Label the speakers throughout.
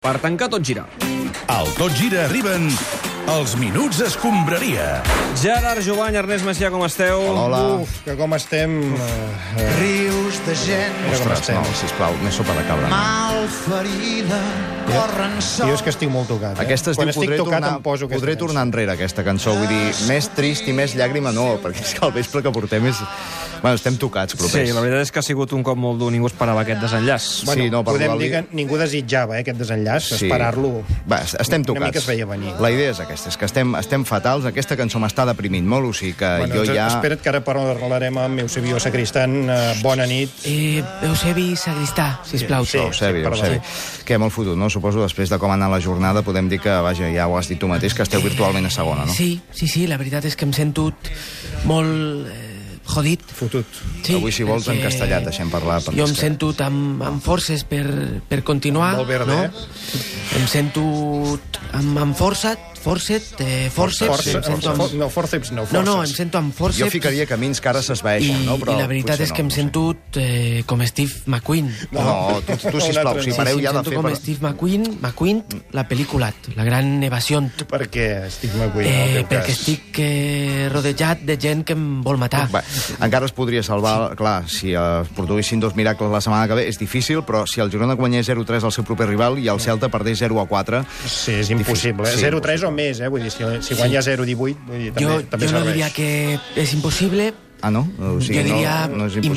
Speaker 1: Per tancar tot girar.
Speaker 2: Al Tot Gira arriben els Minuts Escombraria.
Speaker 1: Gerard Jovany, Ernest Macià, com esteu?
Speaker 3: Hola.
Speaker 4: Uf, que com estem... eh, eh,
Speaker 3: Rius de gent
Speaker 4: Mira com
Speaker 2: Ostres,
Speaker 4: estem. Ah,
Speaker 2: no, sisplau, més sopa de cabra.
Speaker 3: malferida corren
Speaker 4: Jo
Speaker 3: sols.
Speaker 4: és que estic molt tocat. Eh?
Speaker 5: Aquesta es
Speaker 4: Quan
Speaker 5: diu
Speaker 4: estic
Speaker 5: Podré,
Speaker 4: tocat
Speaker 5: tornar,
Speaker 4: em poso aquesta
Speaker 5: podré
Speaker 4: cançó. Ah,
Speaker 5: tornar enrere, aquesta cançó. Vull dir, més trist i més llàgrima no, perquè és que el vespre que portem és... Bueno, estem tocats,
Speaker 1: Sí,
Speaker 5: propers.
Speaker 1: la veritat és que ha sigut un cop molt dur, ningú esperava aquest desenllaç.
Speaker 4: Bueno,
Speaker 5: Sí, no, per
Speaker 4: podem
Speaker 5: volar-li-
Speaker 4: dir que ningú desitjava eh, aquest desenllaç,
Speaker 5: Sí.
Speaker 4: esperar-lo.
Speaker 5: Va, es- estem
Speaker 4: Una
Speaker 5: tocats.
Speaker 4: mica es veia venir.
Speaker 5: La idea és aquesta, és que estem, estem fatals, aquesta cançó m'està deprimint molt, o sigui que
Speaker 4: Bueno,
Speaker 5: jo
Speaker 4: doncs,
Speaker 5: ja...
Speaker 4: Espera't que ara parlarem amb Eusebio Sacristan. Eh, bona nit.
Speaker 6: Eh, Eusebi Sagristà, sisplau.
Speaker 4: Sí,
Speaker 5: Sí, Eusebi,
Speaker 4: sí, perdó.
Speaker 5: Eusebi. Que molt fotut, no? Suposo després de com ha anat la jornada podem dir que, vaja, ja ho has dit tu mateix, que esteu virtualment a segona, no?
Speaker 6: Sí, sí, sí, la veritat és que em sento molt eh, jodit.
Speaker 4: Fotut.
Speaker 6: Sí,
Speaker 5: Avui, si vols, en
Speaker 6: perquè
Speaker 5: castellà et deixem parlar, perquè
Speaker 6: Jo em
Speaker 5: és que-
Speaker 6: sento amb, amb forces per, per continuar.
Speaker 4: Molt verde,
Speaker 6: no?
Speaker 4: eh?
Speaker 6: Em sento amb, amb força, forcet, eh, forceps.
Speaker 4: Force,
Speaker 6: em sento
Speaker 4: for,
Speaker 6: amb...
Speaker 4: no, forceps no,
Speaker 6: doncs- no,
Speaker 4: forces.
Speaker 6: no, em sento amb forces.
Speaker 5: Jo ficaria camins que ara
Speaker 6: i,
Speaker 5: s'esvaeixen, no?
Speaker 6: i la veritat
Speaker 5: potser
Speaker 6: és que em
Speaker 5: no sé.
Speaker 6: sento eh, com Steve McQueen.
Speaker 5: No, tu, tu sisplau, si
Speaker 4: Sí,
Speaker 5: pareu
Speaker 6: sí,
Speaker 5: ja
Speaker 6: em
Speaker 5: de
Speaker 6: sento
Speaker 5: fer...
Speaker 6: com
Speaker 5: per-
Speaker 6: Steve McQueen, McQueen, la pel·lícula, la gran evasió.
Speaker 4: Perquè estic molt cuidat, eh,
Speaker 6: Eh,
Speaker 4: el teu
Speaker 6: perquè
Speaker 4: cas.
Speaker 6: estic eh, rodejat de gent que em vol matar.
Speaker 5: Va, encara es podria salvar, clar, si eh, es produïssin dos miracles la setmana que ve, és difícil, però si el Girona guanyés 0-3 al seu proper rival i el Celta perdés 0-4...
Speaker 4: Sí, és impossible.
Speaker 5: Sí,
Speaker 4: Sí, 0-3 o més, eh? Vull dir, si, si guanya 0-18, vull dir, també,
Speaker 6: jo
Speaker 4: també
Speaker 6: jo no
Speaker 4: serveix.
Speaker 6: diria que és impossible,
Speaker 5: Ah, no? O
Speaker 6: jo diria
Speaker 5: no, no és impossible.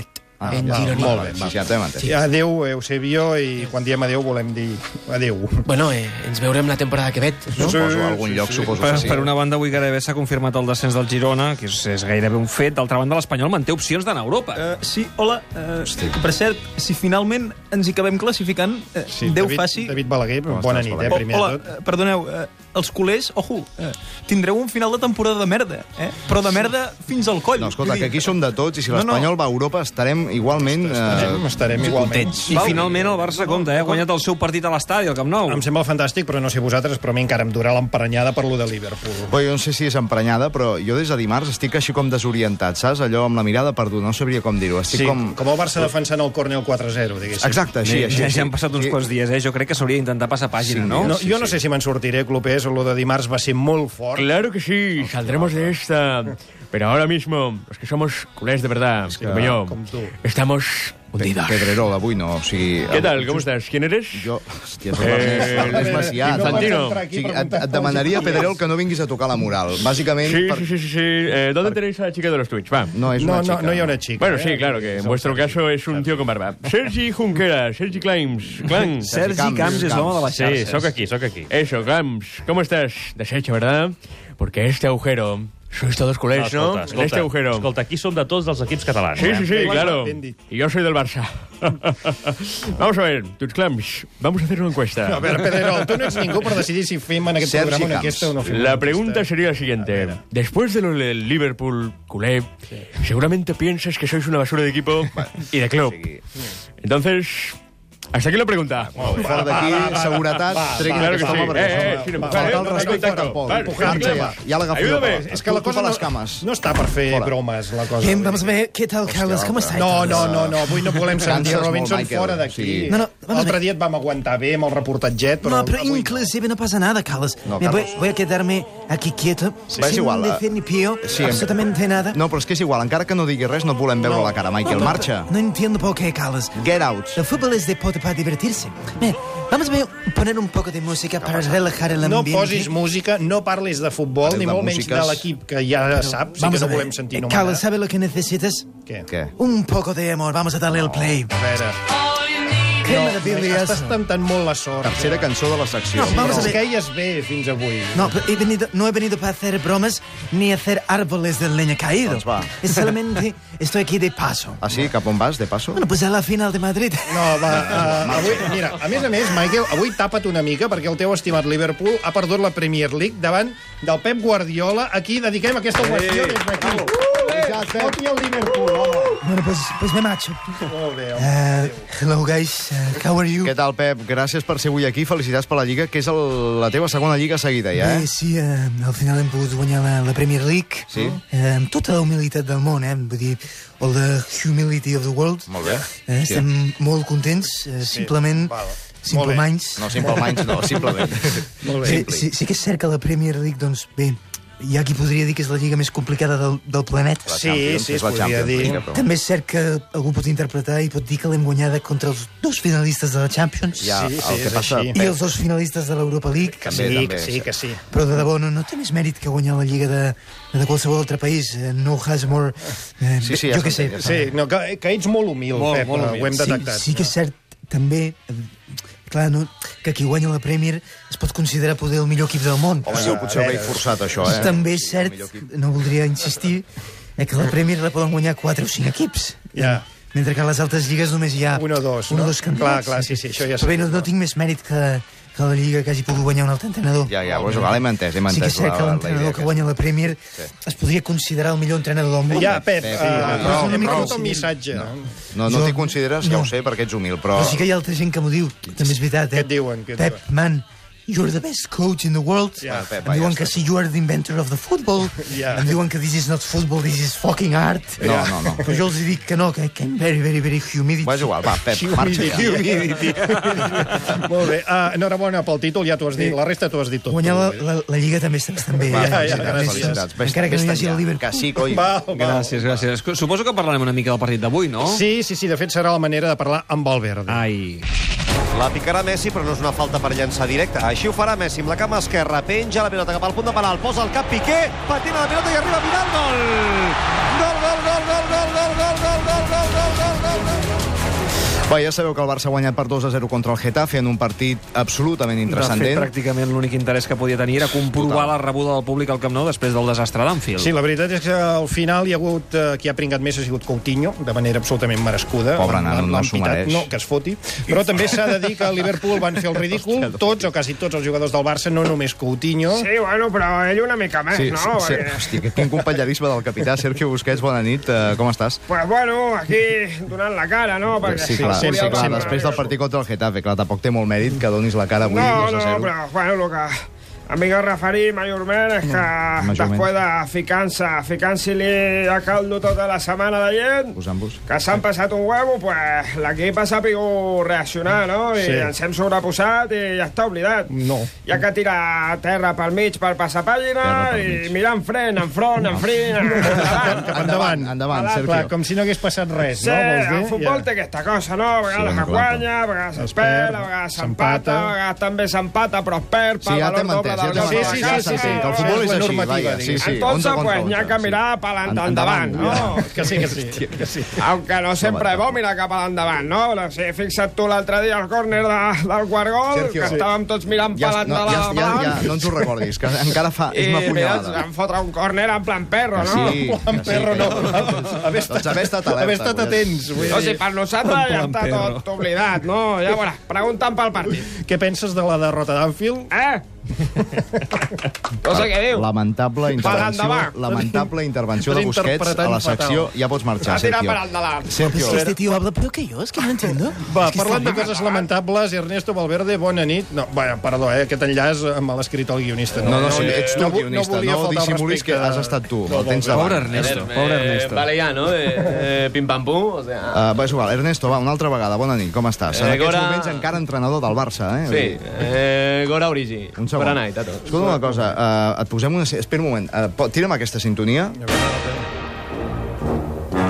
Speaker 6: impossible.
Speaker 5: Ah,
Speaker 6: en
Speaker 5: va,
Speaker 6: gironí.
Speaker 5: Molt bé, va. Sí, ja t'hem entès.
Speaker 4: Sí. Adéu, Eusebio, i quan diem adéu volem dir adéu.
Speaker 6: Bueno, eh, ens veurem la temporada que ve, no?
Speaker 4: Sí,
Speaker 5: Suposo, a algun
Speaker 4: sí,
Speaker 5: lloc,
Speaker 4: sí.
Speaker 5: suposo
Speaker 1: Per,
Speaker 5: que sí.
Speaker 1: per una banda, avui gairebé s'ha confirmat el descens del Girona, que és, és gairebé un fet. D'altra banda, l'Espanyol manté opcions d'anar a Europa.
Speaker 7: Eh, sí, hola. Uh, per cert, si finalment ens hi acabem classificant, uh, sí, Déu
Speaker 4: David,
Speaker 7: faci...
Speaker 4: David Balaguer, bona nit,
Speaker 5: estàs,
Speaker 4: eh,
Speaker 5: Balaguer?
Speaker 4: primer
Speaker 7: oh,
Speaker 4: de
Speaker 7: hola,
Speaker 4: tot.
Speaker 7: eh, perdoneu, eh, els culers, ojo, eh, tindreu un final de temporada de merda, eh? però de merda fins al coll.
Speaker 5: No, escolta,
Speaker 7: Vull
Speaker 5: que
Speaker 7: dir,
Speaker 5: aquí som de tots i si
Speaker 7: No, no.
Speaker 5: l'Espanyol va a Europa estarem igualment...
Speaker 4: Estarem,
Speaker 5: Eh,
Speaker 4: estarem igualment.
Speaker 1: I finalment el Barça compta, eh? ha guanyat el seu partit a l'estadi, al Camp Nou.
Speaker 4: Em sembla fantàstic, però no sé vosaltres, però a mi encara em durà l'emprenyada per lo de Liverpool.
Speaker 5: Bé, jo no sé si és emprenyada, però jo des de dimarts estic així com desorientat, saps? Allò amb la mirada perduda, no sabria com dir-ho. Estic
Speaker 4: Sí, com...
Speaker 5: com...
Speaker 4: com el Barça defensant el córner al 4-0, diguéssim.
Speaker 5: Exacte, així,
Speaker 1: ja,
Speaker 5: així.
Speaker 1: ja,
Speaker 5: així.
Speaker 1: han passat uns
Speaker 5: Sí.
Speaker 1: quants dies, eh? Jo crec que s'hauria d'intentar passar pàgina,
Speaker 5: Sí,
Speaker 1: no?
Speaker 4: No,
Speaker 1: no?
Speaker 4: sí, jo no sé si me'n sortiré, Clopés, el de dimarts va ser molt fort.
Speaker 8: Claro que sí, saldremos de esta. Pero ahora mismo, los que somos culés de verdad, como yo,
Speaker 4: com tu.
Speaker 8: estamos hundidos.
Speaker 5: Pedrerol, avui no, o sigui...
Speaker 8: ¿Qué tal? ¿Cómo estás? ¿Quién eres?
Speaker 5: Jo, hòstia,
Speaker 8: Eh,
Speaker 5: és Ernest
Speaker 8: a
Speaker 5: Macià.
Speaker 8: veure,
Speaker 5: Santi,
Speaker 8: Santino.
Speaker 5: o sigui, et, et demanaria, Pedrerol, que no vinguis a tocar la moral. Bàsicament,
Speaker 8: Sí,
Speaker 5: per...
Speaker 8: sí, sí, sí. sí. Eh, ¿Dónde tenéis a la chica de los Twitch? Va.
Speaker 5: no és
Speaker 4: No,
Speaker 5: una
Speaker 4: no,
Speaker 5: xica.
Speaker 4: no hi ha una xica.
Speaker 8: Bueno,
Speaker 4: eh?
Speaker 8: sí, claro, que en vuestro caso es un tío con barba. Sergi Junquera, Sergi Climbs, Clan.
Speaker 1: Sergi Camps,
Speaker 5: Camps
Speaker 1: és l'home de les
Speaker 8: Sí,
Speaker 1: xarxes.
Speaker 8: soc aquí, soc aquí. Eso, Clams, ¿cómo estás? Deshecho, ¿verdad? Porque este agujero... Sois todos culés, ¿no?
Speaker 9: Escolta,
Speaker 8: este
Speaker 9: escolta,
Speaker 8: agujero.
Speaker 9: escolta, aquí som de tots els equips catalans.
Speaker 8: Sí,
Speaker 9: eh?
Speaker 8: sí, sí,
Speaker 4: Igual
Speaker 8: claro.
Speaker 4: bien dicho.
Speaker 8: Y yo soy del Barça. Vamos a ver, tus clams. Vamos a hacer una
Speaker 4: A
Speaker 8: encuesta.
Speaker 4: veure, Pedrerol, tu no ets ningú per decidir si fem en aquest
Speaker 5: Sergi
Speaker 4: programa una
Speaker 5: Camps.
Speaker 4: aquesta o no fem una
Speaker 5: pues
Speaker 4: eh?
Speaker 8: La
Speaker 4: aquesta.
Speaker 8: pregunta sería la siguiente. Después de lo del Liverpool culé, seguramente piensas que sois una basura de equipo y de club. Entonces, hasta aquí la pregunta.
Speaker 5: Fora d'aquí, seguretat, tregui
Speaker 8: claro
Speaker 5: aquest
Speaker 8: que
Speaker 5: home
Speaker 8: sí.
Speaker 5: perquè...
Speaker 8: Eh, eh,
Speaker 5: no,
Speaker 8: sin
Speaker 5: va,
Speaker 8: empujar,
Speaker 5: faltar
Speaker 8: eh,
Speaker 5: el
Speaker 8: no
Speaker 5: respecte
Speaker 8: contacto.
Speaker 5: tampoco.
Speaker 8: Vale,
Speaker 5: Empujar-se ja,
Speaker 8: ayúdame.
Speaker 5: ja l'agafo jo.
Speaker 8: Ayúdame.
Speaker 5: però
Speaker 4: És que la
Speaker 5: tu fa
Speaker 4: cosa
Speaker 5: les cames.
Speaker 4: No està per fer
Speaker 5: Fora.
Speaker 4: bromes, la cosa.
Speaker 6: Bien, vamos a ver, ¿qué tal, Carlos? ¿Cómo estás?
Speaker 4: No, no, no, no, avui no volem sentir
Speaker 5: Canses molt,
Speaker 4: Robinson
Speaker 5: Michael.
Speaker 4: fora d'aquí.
Speaker 5: Sí.
Speaker 6: No, no, vamos a
Speaker 4: L'altre
Speaker 6: ver.
Speaker 4: dia et vam aguantar bé amb el reportatget, però...
Speaker 10: No, pero
Speaker 4: avui
Speaker 10: inclusive no pasa nada, Carlos.
Speaker 5: No,
Speaker 10: Me voy,
Speaker 5: Carlos.
Speaker 10: voy a quedarme aquí quieto,
Speaker 5: Va, es
Speaker 10: sin
Speaker 5: igual, eh.
Speaker 10: decir ni pío,
Speaker 5: Sí, em-
Speaker 10: absolutamente nada.
Speaker 5: No, però és que és igual, encara que no digui res, no et volem veure la cara, Michael. Marxa.
Speaker 10: No entiendo por qué, Carlos.
Speaker 5: Get out.
Speaker 10: El fútbol es deporte para divertirse. Mira, vamos a ver- poner un poco de música para relajar el
Speaker 4: No
Speaker 10: ambiente.
Speaker 4: posis música, no parlis de futbol,
Speaker 5: Parlem
Speaker 4: ni
Speaker 5: de
Speaker 4: molt menys
Speaker 5: músiques.
Speaker 4: de l'equip, que ja saps, sí
Speaker 10: Vamos
Speaker 4: que no
Speaker 10: a ver.
Speaker 4: volem sentir
Speaker 10: Eh,
Speaker 4: nomenar.
Speaker 10: Carlos, ¿sabes lo que necesitas?
Speaker 4: Què?
Speaker 5: Què?
Speaker 10: Un poco de amor. Vamos a darle el play.
Speaker 4: A veure,
Speaker 10: Qué maravilla
Speaker 4: estàs
Speaker 10: eso.
Speaker 4: temptant molt la sort.
Speaker 5: Tercera cançó de la secció.
Speaker 10: No, vamos a
Speaker 4: Però
Speaker 10: ver.
Speaker 4: queies bé fins avui.
Speaker 10: No, pero he venido, no he venido para hacer bromas ni hacer árboles de leña caído.
Speaker 5: Pues Doncs va.
Speaker 10: Es solamente estoy aquí de paso.
Speaker 5: Ah, sí? Cap on vas, de passo?
Speaker 10: Bueno, pues a la final de Madrid.
Speaker 4: No, va, uh, avui, mira, a més a més, Michael, avui tapa't una mica perquè el teu estimat Liverpool ha perdut la Premier League davant del Pep Guardiola. Aquí dediquem aquesta qüestió des d'aquí. Uh, Voti el Liverpool, home.
Speaker 10: Bueno, pues, pues me macho.
Speaker 4: Molt bé, home.
Speaker 10: Uh, hello, guys. Uh, how are you?
Speaker 5: Què tal, Pep? Gràcies per ser avui aquí. Felicitats per la Lliga, que és el, la teva segona Lliga seguida, ja,
Speaker 10: Bé,
Speaker 5: eh?
Speaker 10: sí, eh, al final hem pogut guanyar la, la Premier League
Speaker 5: Sí.
Speaker 10: eh, amb tota la humilitat del món, eh? Vull dir, all the humility of the world.
Speaker 5: Molt bé.
Speaker 10: Eh, estem molt contents, eh, simplement
Speaker 4: val.
Speaker 3: Simple
Speaker 4: bé.
Speaker 3: Minds.
Speaker 5: No, Simple Minds no, simplement.
Speaker 4: Molt bé.
Speaker 3: Sí, sí, sí que és cert que la Premier League, doncs, bé, hi ha qui podria dir que és la lliga més complicada del, del planeta.
Speaker 5: La
Speaker 4: Sí,
Speaker 5: Champions,
Speaker 4: sí,
Speaker 5: és la
Speaker 4: es podria
Speaker 5: Champions
Speaker 4: dir.
Speaker 5: League, però
Speaker 3: També és cert que algú pot interpretar i pot dir que l'hem guanyada contra els dos finalistes de la Champions
Speaker 5: Ja,
Speaker 4: Sí,
Speaker 5: el
Speaker 4: sí,
Speaker 5: que
Speaker 4: és
Speaker 5: passa...
Speaker 4: així.
Speaker 3: i els dos finalistes de l'Europa League.
Speaker 5: També,
Speaker 4: sí,
Speaker 5: també,
Speaker 4: que sí,
Speaker 5: sí.
Speaker 4: que sí.
Speaker 3: Però de debò, no, no té més mèrit que guanyar la lliga de, de qualsevol altre país. Eh, No has more... Eh,
Speaker 5: Sí, sí, ja
Speaker 3: jo què sé.
Speaker 5: s'entén, ja
Speaker 4: Sí, no, que, que ets molt humil,
Speaker 1: Molt,
Speaker 4: Pep, eh,
Speaker 1: molt humil.
Speaker 4: ho hem detectat.
Speaker 3: Sí, sí que és cert, també, eh, clar, no, que qui guanya la Premier es pot considerar poder el millor equip del món.
Speaker 5: Home, sí, potser ho veig forçat, això, eh?
Speaker 3: També és
Speaker 5: Sí, el
Speaker 3: cert,
Speaker 5: millor equip.
Speaker 3: no voldria insistir, eh, que la Premier la poden guanyar 4 o 5 equips.
Speaker 4: Ja.
Speaker 3: Mentre que a les altres lligues només hi ha...
Speaker 4: Un o dos,
Speaker 3: un
Speaker 4: no?
Speaker 3: o dos candidats.
Speaker 4: Clar, clar, sí, sí, això ja
Speaker 3: Però bé, no,
Speaker 4: segur,
Speaker 3: no tinc més mèrit que, que la lliga que hagi pogut guanyar un altre entrenador.
Speaker 5: Ja, ja, pues, igual, hem entès, hem entès.
Speaker 3: Sí que és cert
Speaker 5: la-
Speaker 3: que
Speaker 5: la
Speaker 3: l'entrenador
Speaker 5: idea
Speaker 3: que guanya la Premier es podria considerar el millor entrenador del món.
Speaker 4: Ja, Pep, eh,
Speaker 5: Pep, sí,
Speaker 4: has
Speaker 5: prou,
Speaker 4: una mica
Speaker 5: prou.
Speaker 4: tot el missatge. No.
Speaker 5: No, no
Speaker 3: Jo-
Speaker 5: t'hi consideres, ja ho
Speaker 3: no.
Speaker 5: sé, perquè ets humil, però...
Speaker 3: Però sí que hi ha altra gent que m'ho diu, també és veritat, eh?
Speaker 4: Què et diuen, què et
Speaker 3: Pep, man, you're the best coach in the world.
Speaker 4: Ja,
Speaker 5: Pep,
Speaker 3: em
Speaker 5: va,
Speaker 3: diuen
Speaker 5: ja
Speaker 3: que
Speaker 5: està.
Speaker 3: si you are the inventor of the football.
Speaker 4: Ja.
Speaker 3: Em diuen que this is not football, this is fucking art.
Speaker 5: No, no, no.
Speaker 3: Però jo els dic que no, que que I'm very, very, very humid.
Speaker 5: Va, és igual, va, Pep, marxa ja.
Speaker 4: Molt bé, uh, enhorabona pel títol, ja t'ho has dit. La resta t'ho has dit tot.
Speaker 3: Guanyar la,
Speaker 4: tu,
Speaker 3: la, la Lliga també està bastant bé.
Speaker 5: Va,
Speaker 4: Ja, ja,
Speaker 5: felicitats,
Speaker 4: gràcies.
Speaker 5: felicitats. Ves-
Speaker 3: Encara que
Speaker 5: ves
Speaker 3: no hi hagi
Speaker 5: tan
Speaker 3: el
Speaker 5: llarg,
Speaker 3: Liverpool.
Speaker 5: Que sí, coi.
Speaker 4: Val, val.
Speaker 1: Gràcies, gràcies. Suposo que parlarem una mica del partit d'avui, no?
Speaker 4: Sí, sí, sí, de fet serà la manera de parlar amb Valverde.
Speaker 1: Ai.
Speaker 11: La picarà Messi, però no és una falta per llançar directa. Així ho farà Messi amb la cama esquerra. Penja la pilota cap al punt de penal. Posa el cap Piqué, patina la pilota i arriba a Vidal. Gol! Gol, gol, gol, gol, gol, gol, gol, gol, gol, gol, gol, gol, gol, gol, gol.
Speaker 5: Va, ja sabeu que el Barça ha guanyat per 2 a 0 contra el Getafe en un partit absolutament
Speaker 1: De fet,
Speaker 5: intrascendent.
Speaker 1: pràcticament l'únic interès que podia tenir era comprovar
Speaker 5: Total.
Speaker 1: la rebuda del públic al Camp Nou després del desastre d'Anfield.
Speaker 4: Sí, la veritat és que al final hi ha hagut... Eh, qui ha pringat més ha sigut Coutinho, de manera absolutament merescuda.
Speaker 5: Pobre
Speaker 4: L'han-
Speaker 5: nano, no
Speaker 4: l'han
Speaker 5: s'ho
Speaker 4: pitat,
Speaker 5: mereix.
Speaker 4: No, que es foti. Però també s'ha de dir que a Liverpool van fer el ridícul. Tots, o quasi tots els jugadors del Barça, no només Coutinho. Sí.
Speaker 12: bueno, però ell una mica més,
Speaker 5: Sí, sí, sí. Hòstia, quin companyerisme del capità Sergio Busquets. Bona nit, eh, com estàs?
Speaker 12: Pues bueno, aquí donant la cara, no?
Speaker 5: Pues Sí, clar, sí,
Speaker 4: sempre,
Speaker 5: clar,
Speaker 4: sempre.
Speaker 5: després del partit contra el Getafe, clar, tampoc té molt mèrit que donis la cara avui
Speaker 12: No,
Speaker 5: 2 a 0.
Speaker 12: no, però bueno, el que a mi que es referir majorment és que
Speaker 5: Majorment.
Speaker 12: després de ficar-se, ficant-se-li a caldo tota la setmana de gent,
Speaker 5: Posant-vos.
Speaker 12: que s'han passat un huevo, pues l'equip ha sapigut reaccionar, no? I
Speaker 4: Sí.
Speaker 12: ens hem sobreposat i ja està oblidat.
Speaker 4: No.
Speaker 12: Hi ha que tirar terra pel mig per passar
Speaker 5: Terra
Speaker 12: pàgina
Speaker 5: pel
Speaker 12: i
Speaker 5: mig.
Speaker 12: mirar enfront, enfront, enfront, endavant.
Speaker 4: Cap endavant.
Speaker 5: Endavant,
Speaker 12: Endavant,
Speaker 5: Sergio.
Speaker 4: Clar, com si no hagués passat res,
Speaker 12: Sí,
Speaker 4: no? Vols dir?
Speaker 12: el futbol té aquesta cosa, no? A
Speaker 5: Sí,
Speaker 12: vegades
Speaker 5: bueno,
Speaker 12: es
Speaker 5: clar.
Speaker 12: guanya, a vegades
Speaker 4: Es
Speaker 12: es perd,
Speaker 4: perd,
Speaker 12: a vegades
Speaker 4: s'empata.
Speaker 12: s'empata, a vegades també s'empata, però es perd
Speaker 5: Sí,
Speaker 12: pel
Speaker 5: ja
Speaker 12: valor
Speaker 5: t'hem
Speaker 12: doble
Speaker 5: entès, ja
Speaker 12: del
Speaker 5: t'hem
Speaker 12: gol.
Speaker 5: entès.
Speaker 4: sí,
Speaker 5: ja
Speaker 4: sí, sí,
Speaker 5: s'entén,
Speaker 4: sí.
Speaker 5: que el futbol
Speaker 4: És
Speaker 5: és
Speaker 4: la
Speaker 5: així,
Speaker 4: normativa,
Speaker 5: vaja. Sí,
Speaker 4: diguem.
Speaker 5: sí,
Speaker 12: Entonces,
Speaker 5: 11 contra
Speaker 12: pues, n'hi ha
Speaker 5: 11,
Speaker 12: que
Speaker 5: sí.
Speaker 12: mirar per l'endavant, no?
Speaker 4: Que sí, que sí. Que sí.
Speaker 12: Aunque no sempre és bo mirar cap a l'endavant, no? O sigui, fixa't tu l'altre dia al córner de, del quart gol,
Speaker 5: Sergio,
Speaker 12: que
Speaker 5: sí.
Speaker 12: estàvem tots mirant
Speaker 5: Ja,
Speaker 12: per
Speaker 5: no, ja,
Speaker 12: l'endavant.
Speaker 5: ja, ja, no ens ho recordis, que encara fa... És
Speaker 9: Eh,
Speaker 5: una
Speaker 12: I mira,
Speaker 5: punyalada.
Speaker 12: vam fotre un córner en plan perro,
Speaker 5: Que
Speaker 12: no?
Speaker 5: sí,
Speaker 4: En
Speaker 5: que sí,
Speaker 4: perro
Speaker 5: que
Speaker 4: no.
Speaker 5: sí.
Speaker 4: Haver estat,
Speaker 5: Doncs haver estat alerta,
Speaker 4: haver estat
Speaker 5: vull dir.
Speaker 4: atents. vull
Speaker 12: O sigui,
Speaker 4: dir.
Speaker 12: per nosaltres ja
Speaker 1: plan
Speaker 12: està
Speaker 1: perro.
Speaker 12: tot oblidat, no? Llavors, pregunta'm pel partit.
Speaker 4: Què penses de la derrota d'Anfield?
Speaker 12: Eh? No sé què diu.
Speaker 5: Lamentable intervenció,
Speaker 12: endavant.
Speaker 5: lamentable intervenció de
Speaker 4: Estàs
Speaker 5: Busquets a la
Speaker 4: interpretant
Speaker 5: secció.
Speaker 4: fatal.
Speaker 5: Ja pots marxar,
Speaker 12: A tirar
Speaker 5: Sergio.
Speaker 12: per endavant.
Speaker 3: Es
Speaker 5: Sergio,
Speaker 3: que este tío habla peor que yo, es que no entiendo.
Speaker 4: Va,
Speaker 3: es que
Speaker 4: parlant de
Speaker 3: está-
Speaker 4: coses lamentables, Ernesto Valverde, bona nit. No, bueno, perdó, eh, aquest enllaç eh, me l'ha escrit el guionista.
Speaker 5: No, no, sí, ets tu el
Speaker 4: vo-
Speaker 5: guionista,
Speaker 4: volia
Speaker 5: no
Speaker 4: faltar al
Speaker 5: dissimulis
Speaker 4: respecte.
Speaker 5: que has estat tu, el
Speaker 4: Valverde.
Speaker 5: tens
Speaker 1: Pobre
Speaker 5: davant.
Speaker 1: Ernesto, pobre Ernesto.
Speaker 9: vale ya, ¿no? Eh, eh, pim pam pum, o sea...
Speaker 5: Uh, va, és igual. Ernesto, va, una altra vegada. Bona nit, com estàs? En
Speaker 9: Eh,
Speaker 5: aquests
Speaker 9: Gora-
Speaker 5: moments encara entrenador del Barça, eh?
Speaker 9: Sí, eh, Gora Origi.
Speaker 5: Un segon.
Speaker 9: Bona nit a tots.
Speaker 5: Escolta una cosa, uh, et posem una... Espera un moment, uh, po- tira'm aquesta sintonia.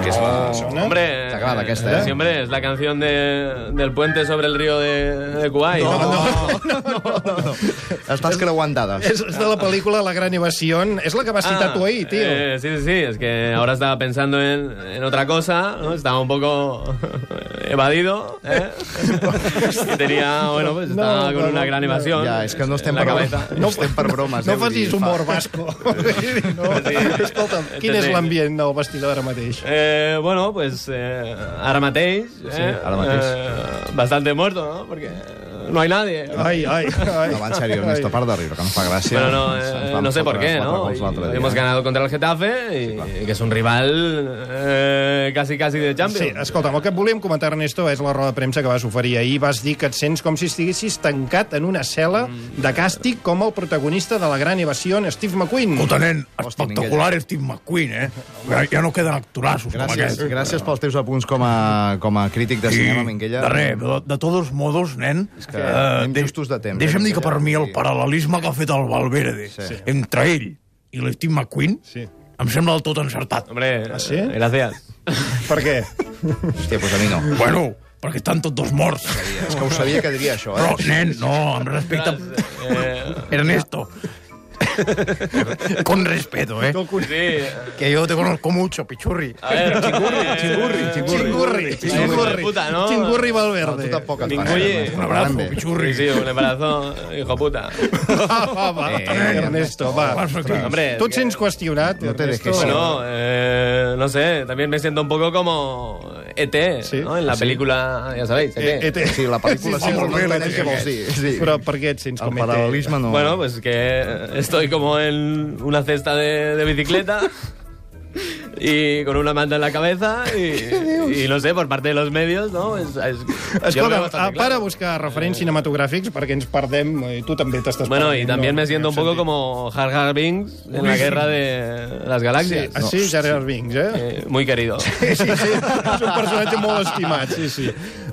Speaker 5: Que és la...
Speaker 9: Hombre,
Speaker 5: Te agrada aquesta, eh?
Speaker 9: Sí, hombre, es la canción de, del puente sobre el río de, de Kuwait.
Speaker 5: Estàs creuant dades.
Speaker 4: És, és de la pel·lícula La Gran Evasió, és la que
Speaker 5: Ah,
Speaker 4: vas citar tu ahir, tio.
Speaker 9: eh, sí, sí, sí, es que ahora estaba pensando en, en otra cosa, ¿no? estaba un poco evadido, ¿eh? y tenía, bueno, pues
Speaker 4: No,
Speaker 9: estaba con
Speaker 4: no,
Speaker 9: una
Speaker 4: no,
Speaker 9: gran
Speaker 4: no.
Speaker 9: evasión
Speaker 5: Ja, és que no estem
Speaker 9: en la
Speaker 5: per,
Speaker 9: cabeza.
Speaker 5: no estem per bromes.
Speaker 4: No
Speaker 5: eh, vull
Speaker 4: facis
Speaker 5: dir, fa-
Speaker 4: humor, Vasco. no. Escolta'm, quin és
Speaker 9: Entenc.
Speaker 4: l'ambient del vestidor ara mateix?
Speaker 9: Eh, bueno, pues eh, ara mateix, eh,
Speaker 5: ara mateix.
Speaker 9: eh, bastante muerto, ¿no? Porque no hay nadie.
Speaker 4: Ai, ai, ai.
Speaker 5: No, va, en sèrio, Ernesto, part de riure, que no fa gràcia.
Speaker 9: eh. Bueno, no, eh,
Speaker 5: Ens vam
Speaker 9: no sé
Speaker 5: fotre
Speaker 9: por qué,
Speaker 5: quatre
Speaker 9: ¿no?
Speaker 5: gols l'altre
Speaker 9: Y
Speaker 5: dia.
Speaker 9: Hemos ganado contra el Getafe, y- que es un rival eh, casi casi de Champions.
Speaker 4: Sí, escolta'm, el que et volíem comentar, Ernesto, és la roda de premsa que vas oferir ahir. Vas dir que et sents com si estiguessis tancat en una cel·la
Speaker 9: Mm.
Speaker 4: de càstig com el protagonista de la gran evasió, en Steve McQueen.
Speaker 7: Puta, nen,
Speaker 5: Hosti,
Speaker 7: espectacular Steve McQueen, eh? Ja, ja no queden actorassos com
Speaker 5: Gràcies,
Speaker 7: aquest.
Speaker 5: gràcies pels teus apunts com a, com a crític de cinema,
Speaker 7: I,
Speaker 5: Minguella.
Speaker 7: de res, de, de todos modos, nen,
Speaker 5: que anem justos de temps. eh,
Speaker 7: Deixa'm dir Eh, que per mi el paral·lelisme que ha fet el Valverde
Speaker 5: Sí.
Speaker 7: sí. entre ell i l'Steve McQueen sí. em sembla del tot encertat.
Speaker 9: Hombre, eh,
Speaker 7: ah, sí?
Speaker 9: gràcies.
Speaker 4: Per què?
Speaker 5: Hòstia, doncs a mi no.
Speaker 7: Bueno, perquè estan tots dos morts.
Speaker 5: És que ho sabia que diria això, eh?
Speaker 7: Però, nen, no, amb respecte... Ernesto. Con respeto, eh? Que yo te conozco mucho, pichurri.
Speaker 9: A ver, chingurri, eh,
Speaker 4: Chingurri, chingurri.
Speaker 9: Puta, ¿no?
Speaker 4: Chingurri Valverde.
Speaker 9: Ninguye. Un abrazo, pichurri. Sí, sí, un abrazo, hijo puta.
Speaker 4: Ah, Va, va, Ernesto, va.
Speaker 9: Eh, Hombre, eh,
Speaker 4: Tu et sents qüestionat, no Ernesto.
Speaker 9: Bueno, eh, no sé, también me siento un poco como ET, ¿no? En la
Speaker 4: Sí. Eh,
Speaker 9: película, ya sabéis, E ET.
Speaker 4: ET. Sí, la pel·lícula sí, sí, molt bé, l'ET. Què vols dir? Sí. Però per què et sents com ET?
Speaker 9: Bueno, pues que estoy como en una cesta de, de bicicleta y con una manta en la cabeza y, y no sé, por parte de los medios, ¿no? Es, es- yo lo veo
Speaker 4: Escolta,
Speaker 9: bastante
Speaker 4: a,
Speaker 9: claro.
Speaker 4: ah, para a buscar referents cinematogràfics perquè ens perdem, eh, i tu també t'estàs
Speaker 9: Bueno,
Speaker 4: perdent.
Speaker 9: y también
Speaker 4: no?
Speaker 9: me siento un poco como Jar Jar Binks en la
Speaker 4: Uy.
Speaker 9: guerra de las galaxias.
Speaker 4: Ah, Sí, así, Jar Jar Binks, eh?
Speaker 9: Eh, Muy querido.
Speaker 4: Sí, sí, és un personatge molt estimat, sí, sí.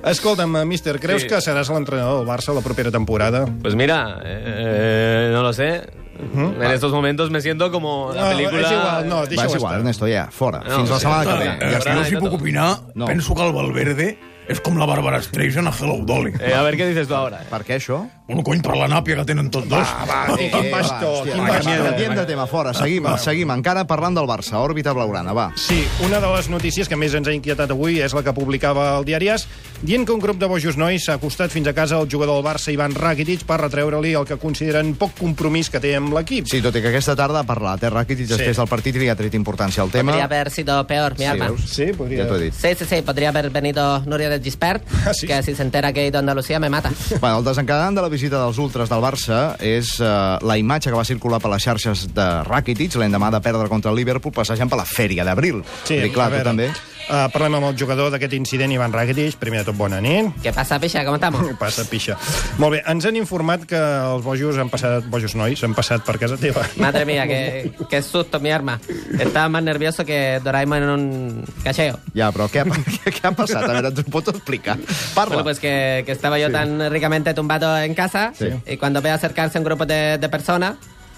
Speaker 4: Escolta'm, eh, míster, creus
Speaker 9: Sí.
Speaker 4: que seràs l'entrenador del Barça la propera temporada?
Speaker 9: Pues mira, eh, no lo sé. En estos momentos me siento como
Speaker 4: Ah.
Speaker 9: la
Speaker 4: No,
Speaker 9: película...
Speaker 4: es igual, no,
Speaker 5: Va, és igual, Ernesto, ja, fora.
Speaker 9: No,
Speaker 5: Fins la
Speaker 9: sí,
Speaker 5: setmana que
Speaker 9: fora.
Speaker 5: ve.
Speaker 9: Ja
Speaker 7: Ja,
Speaker 9: està.
Speaker 7: jo, eh, si puc opinar,
Speaker 5: No.
Speaker 7: no. penso que el Valverde és com la Bàrbara Streisand a Hello Dolly.
Speaker 9: Eh, a ver qué dices tú ahora.
Speaker 5: Per què, això?
Speaker 7: Bueno, cony, per la nàpia que tenen tots dos.
Speaker 5: Va,
Speaker 7: Eh,
Speaker 5: va,
Speaker 4: bastó,
Speaker 5: hòstia,
Speaker 4: quin
Speaker 5: va,
Speaker 4: bastó.
Speaker 5: canviem- Canviem de tema, fora. Seguim, seguim. Encara parlant del Barça. Òrbita blaugrana, va.
Speaker 4: Sí, una de les notícies que més ens ha inquietat avui és la que publicava el diari As, dient que un grup de bojos nois s'ha acostat fins a casa al jugador del Barça, Ivan Rakitic, per retreure-li el que consideren poc compromís que té amb l'equip.
Speaker 5: Sí, tot i que aquesta tarda ha parlat, eh, Rakitic,
Speaker 4: Sí.
Speaker 5: després del partit i li ha tret importància al tema.
Speaker 13: Podría haber sido peor, mi
Speaker 5: Sí,
Speaker 13: arma.
Speaker 5: veus?
Speaker 4: Sí,
Speaker 5: Ja t'ho he dit.
Speaker 13: Sí, sí, sí, podría haber venido Nuria del Gispert,
Speaker 5: Ah,
Speaker 13: que si se entera que he ido a Andalucía me mata.
Speaker 5: Bueno, el desencadenant de la visita dels ultras del Barça és eh, la imatge que va circular per les xarxes de Rakitic l'endemà de perdre contra el Liverpool passejant per la fèria d'abril. Vull dir, clar,
Speaker 4: a veure,
Speaker 5: tu també.
Speaker 4: Uh, parlem amb el jugador d'aquest incident, Ivan Rakitic. Primer de tot, bona nit.
Speaker 13: Què passa, Pixa? Com estem?
Speaker 4: Què passa, Pixa? Molt bé, ens han informat que els bojos han passat, bojos nois, han passat per casa teva.
Speaker 13: Madre mía, qué, qué susto, mi arma. Estaba más nervioso que Doraemon en un cacheo.
Speaker 5: Ja, però què, ha- què, què ha passat? A veure, ens ho pots explicar? Parla.
Speaker 13: Bueno, pues que, que estaba yo tan ricamente tumbado en casa
Speaker 5: Sí.
Speaker 13: y cuando veo acercarse un grupo de, de personas,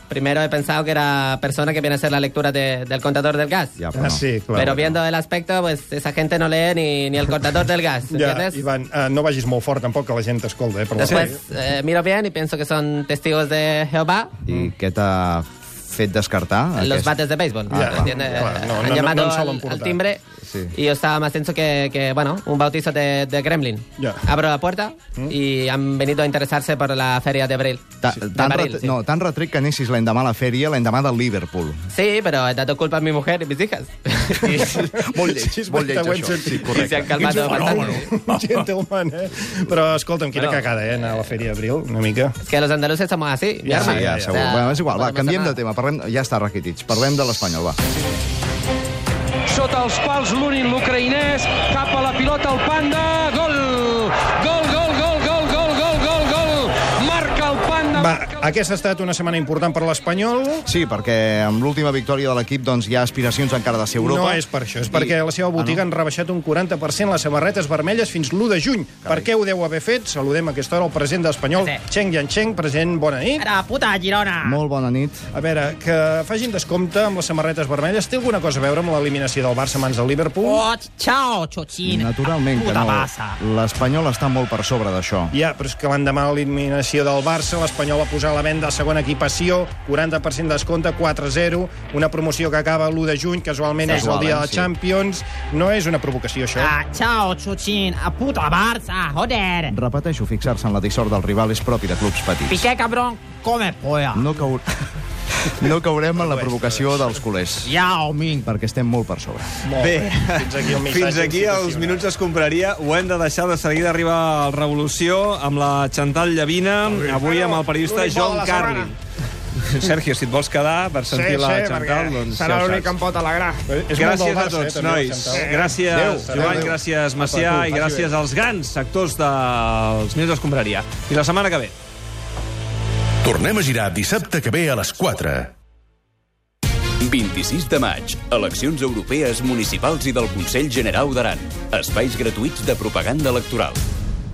Speaker 13: primero he pensado que era persona que viene a hacer la lectura de- del contador del gas.
Speaker 5: Ja,
Speaker 4: Ah, sí, clar.
Speaker 13: Pero viendo el aspecto, pues esa gente no lee ni, ni el contador del gas,
Speaker 4: Ja,
Speaker 13: ¿entiendes?
Speaker 4: Ivan, uh, no vagis molt fort, tampoc, que la gent t'escolta, eh? Per la ràdio.
Speaker 13: Después eh, miro bien y pienso que son testigos de Jehová,
Speaker 5: I què t'ha fet descartar?
Speaker 13: los
Speaker 5: aquest?
Speaker 13: bates de béisbol.
Speaker 5: Ah,
Speaker 13: ¿entiendes?
Speaker 5: clar, clar. No,
Speaker 13: Han
Speaker 5: no- no-
Speaker 13: llamado
Speaker 5: no en solen
Speaker 13: al- al,
Speaker 5: portar.
Speaker 13: timbre
Speaker 5: Sí.
Speaker 13: y yo estaba más tenso que, que, bueno, un bautizo de, de Gremlin.
Speaker 5: Ya. ¿Mm?
Speaker 13: Abro la puerta y han venido a interesarse por la feria de abril.
Speaker 5: Ta-
Speaker 13: de
Speaker 5: Tan,
Speaker 13: Baril,
Speaker 5: ret-
Speaker 13: sí.
Speaker 5: no, tan retret que anessis l'endemà a la fèria, l'endemà del Liverpool.
Speaker 13: Sí, pero he dado culpa a mi mujer y mis hijas.
Speaker 5: Molt lleig, sí, molt lleig,
Speaker 4: ho hem
Speaker 5: això.
Speaker 4: sentit. eh?
Speaker 5: Sí,
Speaker 13: y se
Speaker 5: correcte.
Speaker 13: han calmado bastante.
Speaker 4: Gentleman, eh? Però, escolta'm, quina
Speaker 13: Bueno.
Speaker 4: cagada, eh, anar a la Fèria d'Abril, una mica.
Speaker 13: Es que los andaluces somos así, mi
Speaker 5: Ja,
Speaker 13: arma.
Speaker 5: sí, ja,
Speaker 13: O
Speaker 5: segur.
Speaker 13: sea,
Speaker 5: Bueno, és igual, va,
Speaker 13: no pasa
Speaker 5: canviem
Speaker 13: nada.
Speaker 5: de tema. Parlem, ja està, Rakitic. Parlem de l'Espanyol, va.
Speaker 14: Sota els pals l'únic l'ucraïnès, cap a la pilota el panda, gol! Gol, gol, gol, gol, gol, gol, gol, gol! Marca el panda!
Speaker 4: Va, aquesta ha estat una setmana important per l'Espanyol.
Speaker 5: Sí, perquè amb l'última victòria de l'equip doncs, hi ha aspiracions encara de ser a Europa.
Speaker 4: No és per això, és perquè a la
Speaker 1: Ah,
Speaker 4: seva botiga han rebaixat un 40% les samarretes vermelles fins l'1 de juny. Per què ho deu haver fet? Saludem a aquesta hora el president d'Espanyol, Cheng Yancheng. President, bona nit.
Speaker 15: Era puta Girona.
Speaker 5: Ah, Molt bona nit.
Speaker 4: A veure, que facin descompte amb les samarretes vermelles. Té alguna cosa a veure amb l'eliminació del Barça a mans del Liverpool?
Speaker 15: Oh, ciao, xoxina.
Speaker 5: Naturalment que
Speaker 15: Puta
Speaker 5: no.
Speaker 15: passa.
Speaker 5: L'Espanyol està molt per sobre d'això.
Speaker 4: Ja, però és que l'endemà de l'eliminació del Barça, l'Espanyol va posar a la venda la segona equipació, 40% de descompte, 4-0, una promoció que acaba l'1 de juny, casualment
Speaker 15: Sí.
Speaker 4: és el dia de la
Speaker 15: Casualment, sí.
Speaker 4: Champions. No és una provocació, això?
Speaker 15: Ah, ciao, xoxin. A puta Barça, joder.
Speaker 5: Repeteixo, fixar-se en la dissort del rival és propi de clubs petits.
Speaker 15: Piqué, cabrón, come polla.
Speaker 5: No, cau... no caurem en la provocació dels culers.
Speaker 15: Ja, homing.
Speaker 5: Perquè estem molt per sobre.
Speaker 9: Bé, fins aquí,
Speaker 1: el missatge
Speaker 9: fins aquí els
Speaker 1: institucional.
Speaker 9: minuts es compraria.
Speaker 1: Ho hem de deixar de seguida arribar al Revolució amb la Chantal Llavina, avui amb el periodista
Speaker 16: l'únic bo de
Speaker 1: John
Speaker 16: la
Speaker 1: Carlin. Sergio, si et vols quedar per sentir la Chantal, doncs
Speaker 16: serà
Speaker 1: ja ho
Speaker 16: l'únic que
Speaker 1: saps.
Speaker 16: em pot alegrar.
Speaker 1: Gràcies
Speaker 16: eh,
Speaker 4: eh,
Speaker 1: a tots, nois. Gràcies, Joan, gràcies, Macià, i gràcies als grans actors dels Minuts d'Escombraria. I la setmana que ve.
Speaker 2: Tornem a girar dissabte que ve a les 4.
Speaker 17: 26 de maig, eleccions europees municipals i del Consell Generau d'Aran. Espais gratuïts de propaganda electoral.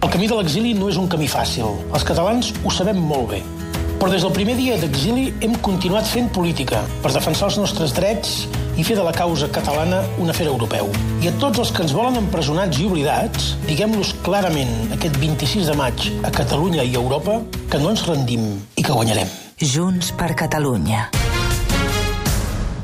Speaker 16: El camí de l'exili no és un camí fàcil. Els catalans ho sabem molt bé. Però des del primer dia d'exili hem continuat fent política per defensar els nostres drets i fer de la causa catalana un afer europeu. I a tots els que ens volen empresonats i oblidats, diguem-los clarament aquest 26 de maig a Catalunya i a Europa que no ens rendim i que guanyarem.
Speaker 18: Junts per Catalunya.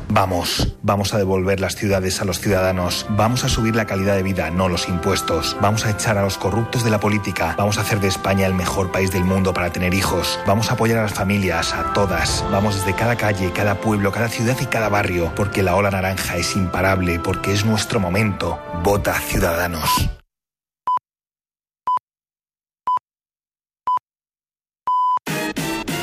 Speaker 4: Vamos, vamos a devolver las ciudades a los ciudadanos, vamos a subir la calidad de vida, no los impuestos, vamos a echar a los corruptos de la política, vamos a hacer de España el mejor país del mundo para tener hijos, vamos a apoyar a las familias, a todas, vamos desde cada calle, cada pueblo, cada ciudad y cada barrio, porque la ola naranja es imparable, porque es nuestro momento. Vota Ciudadanos.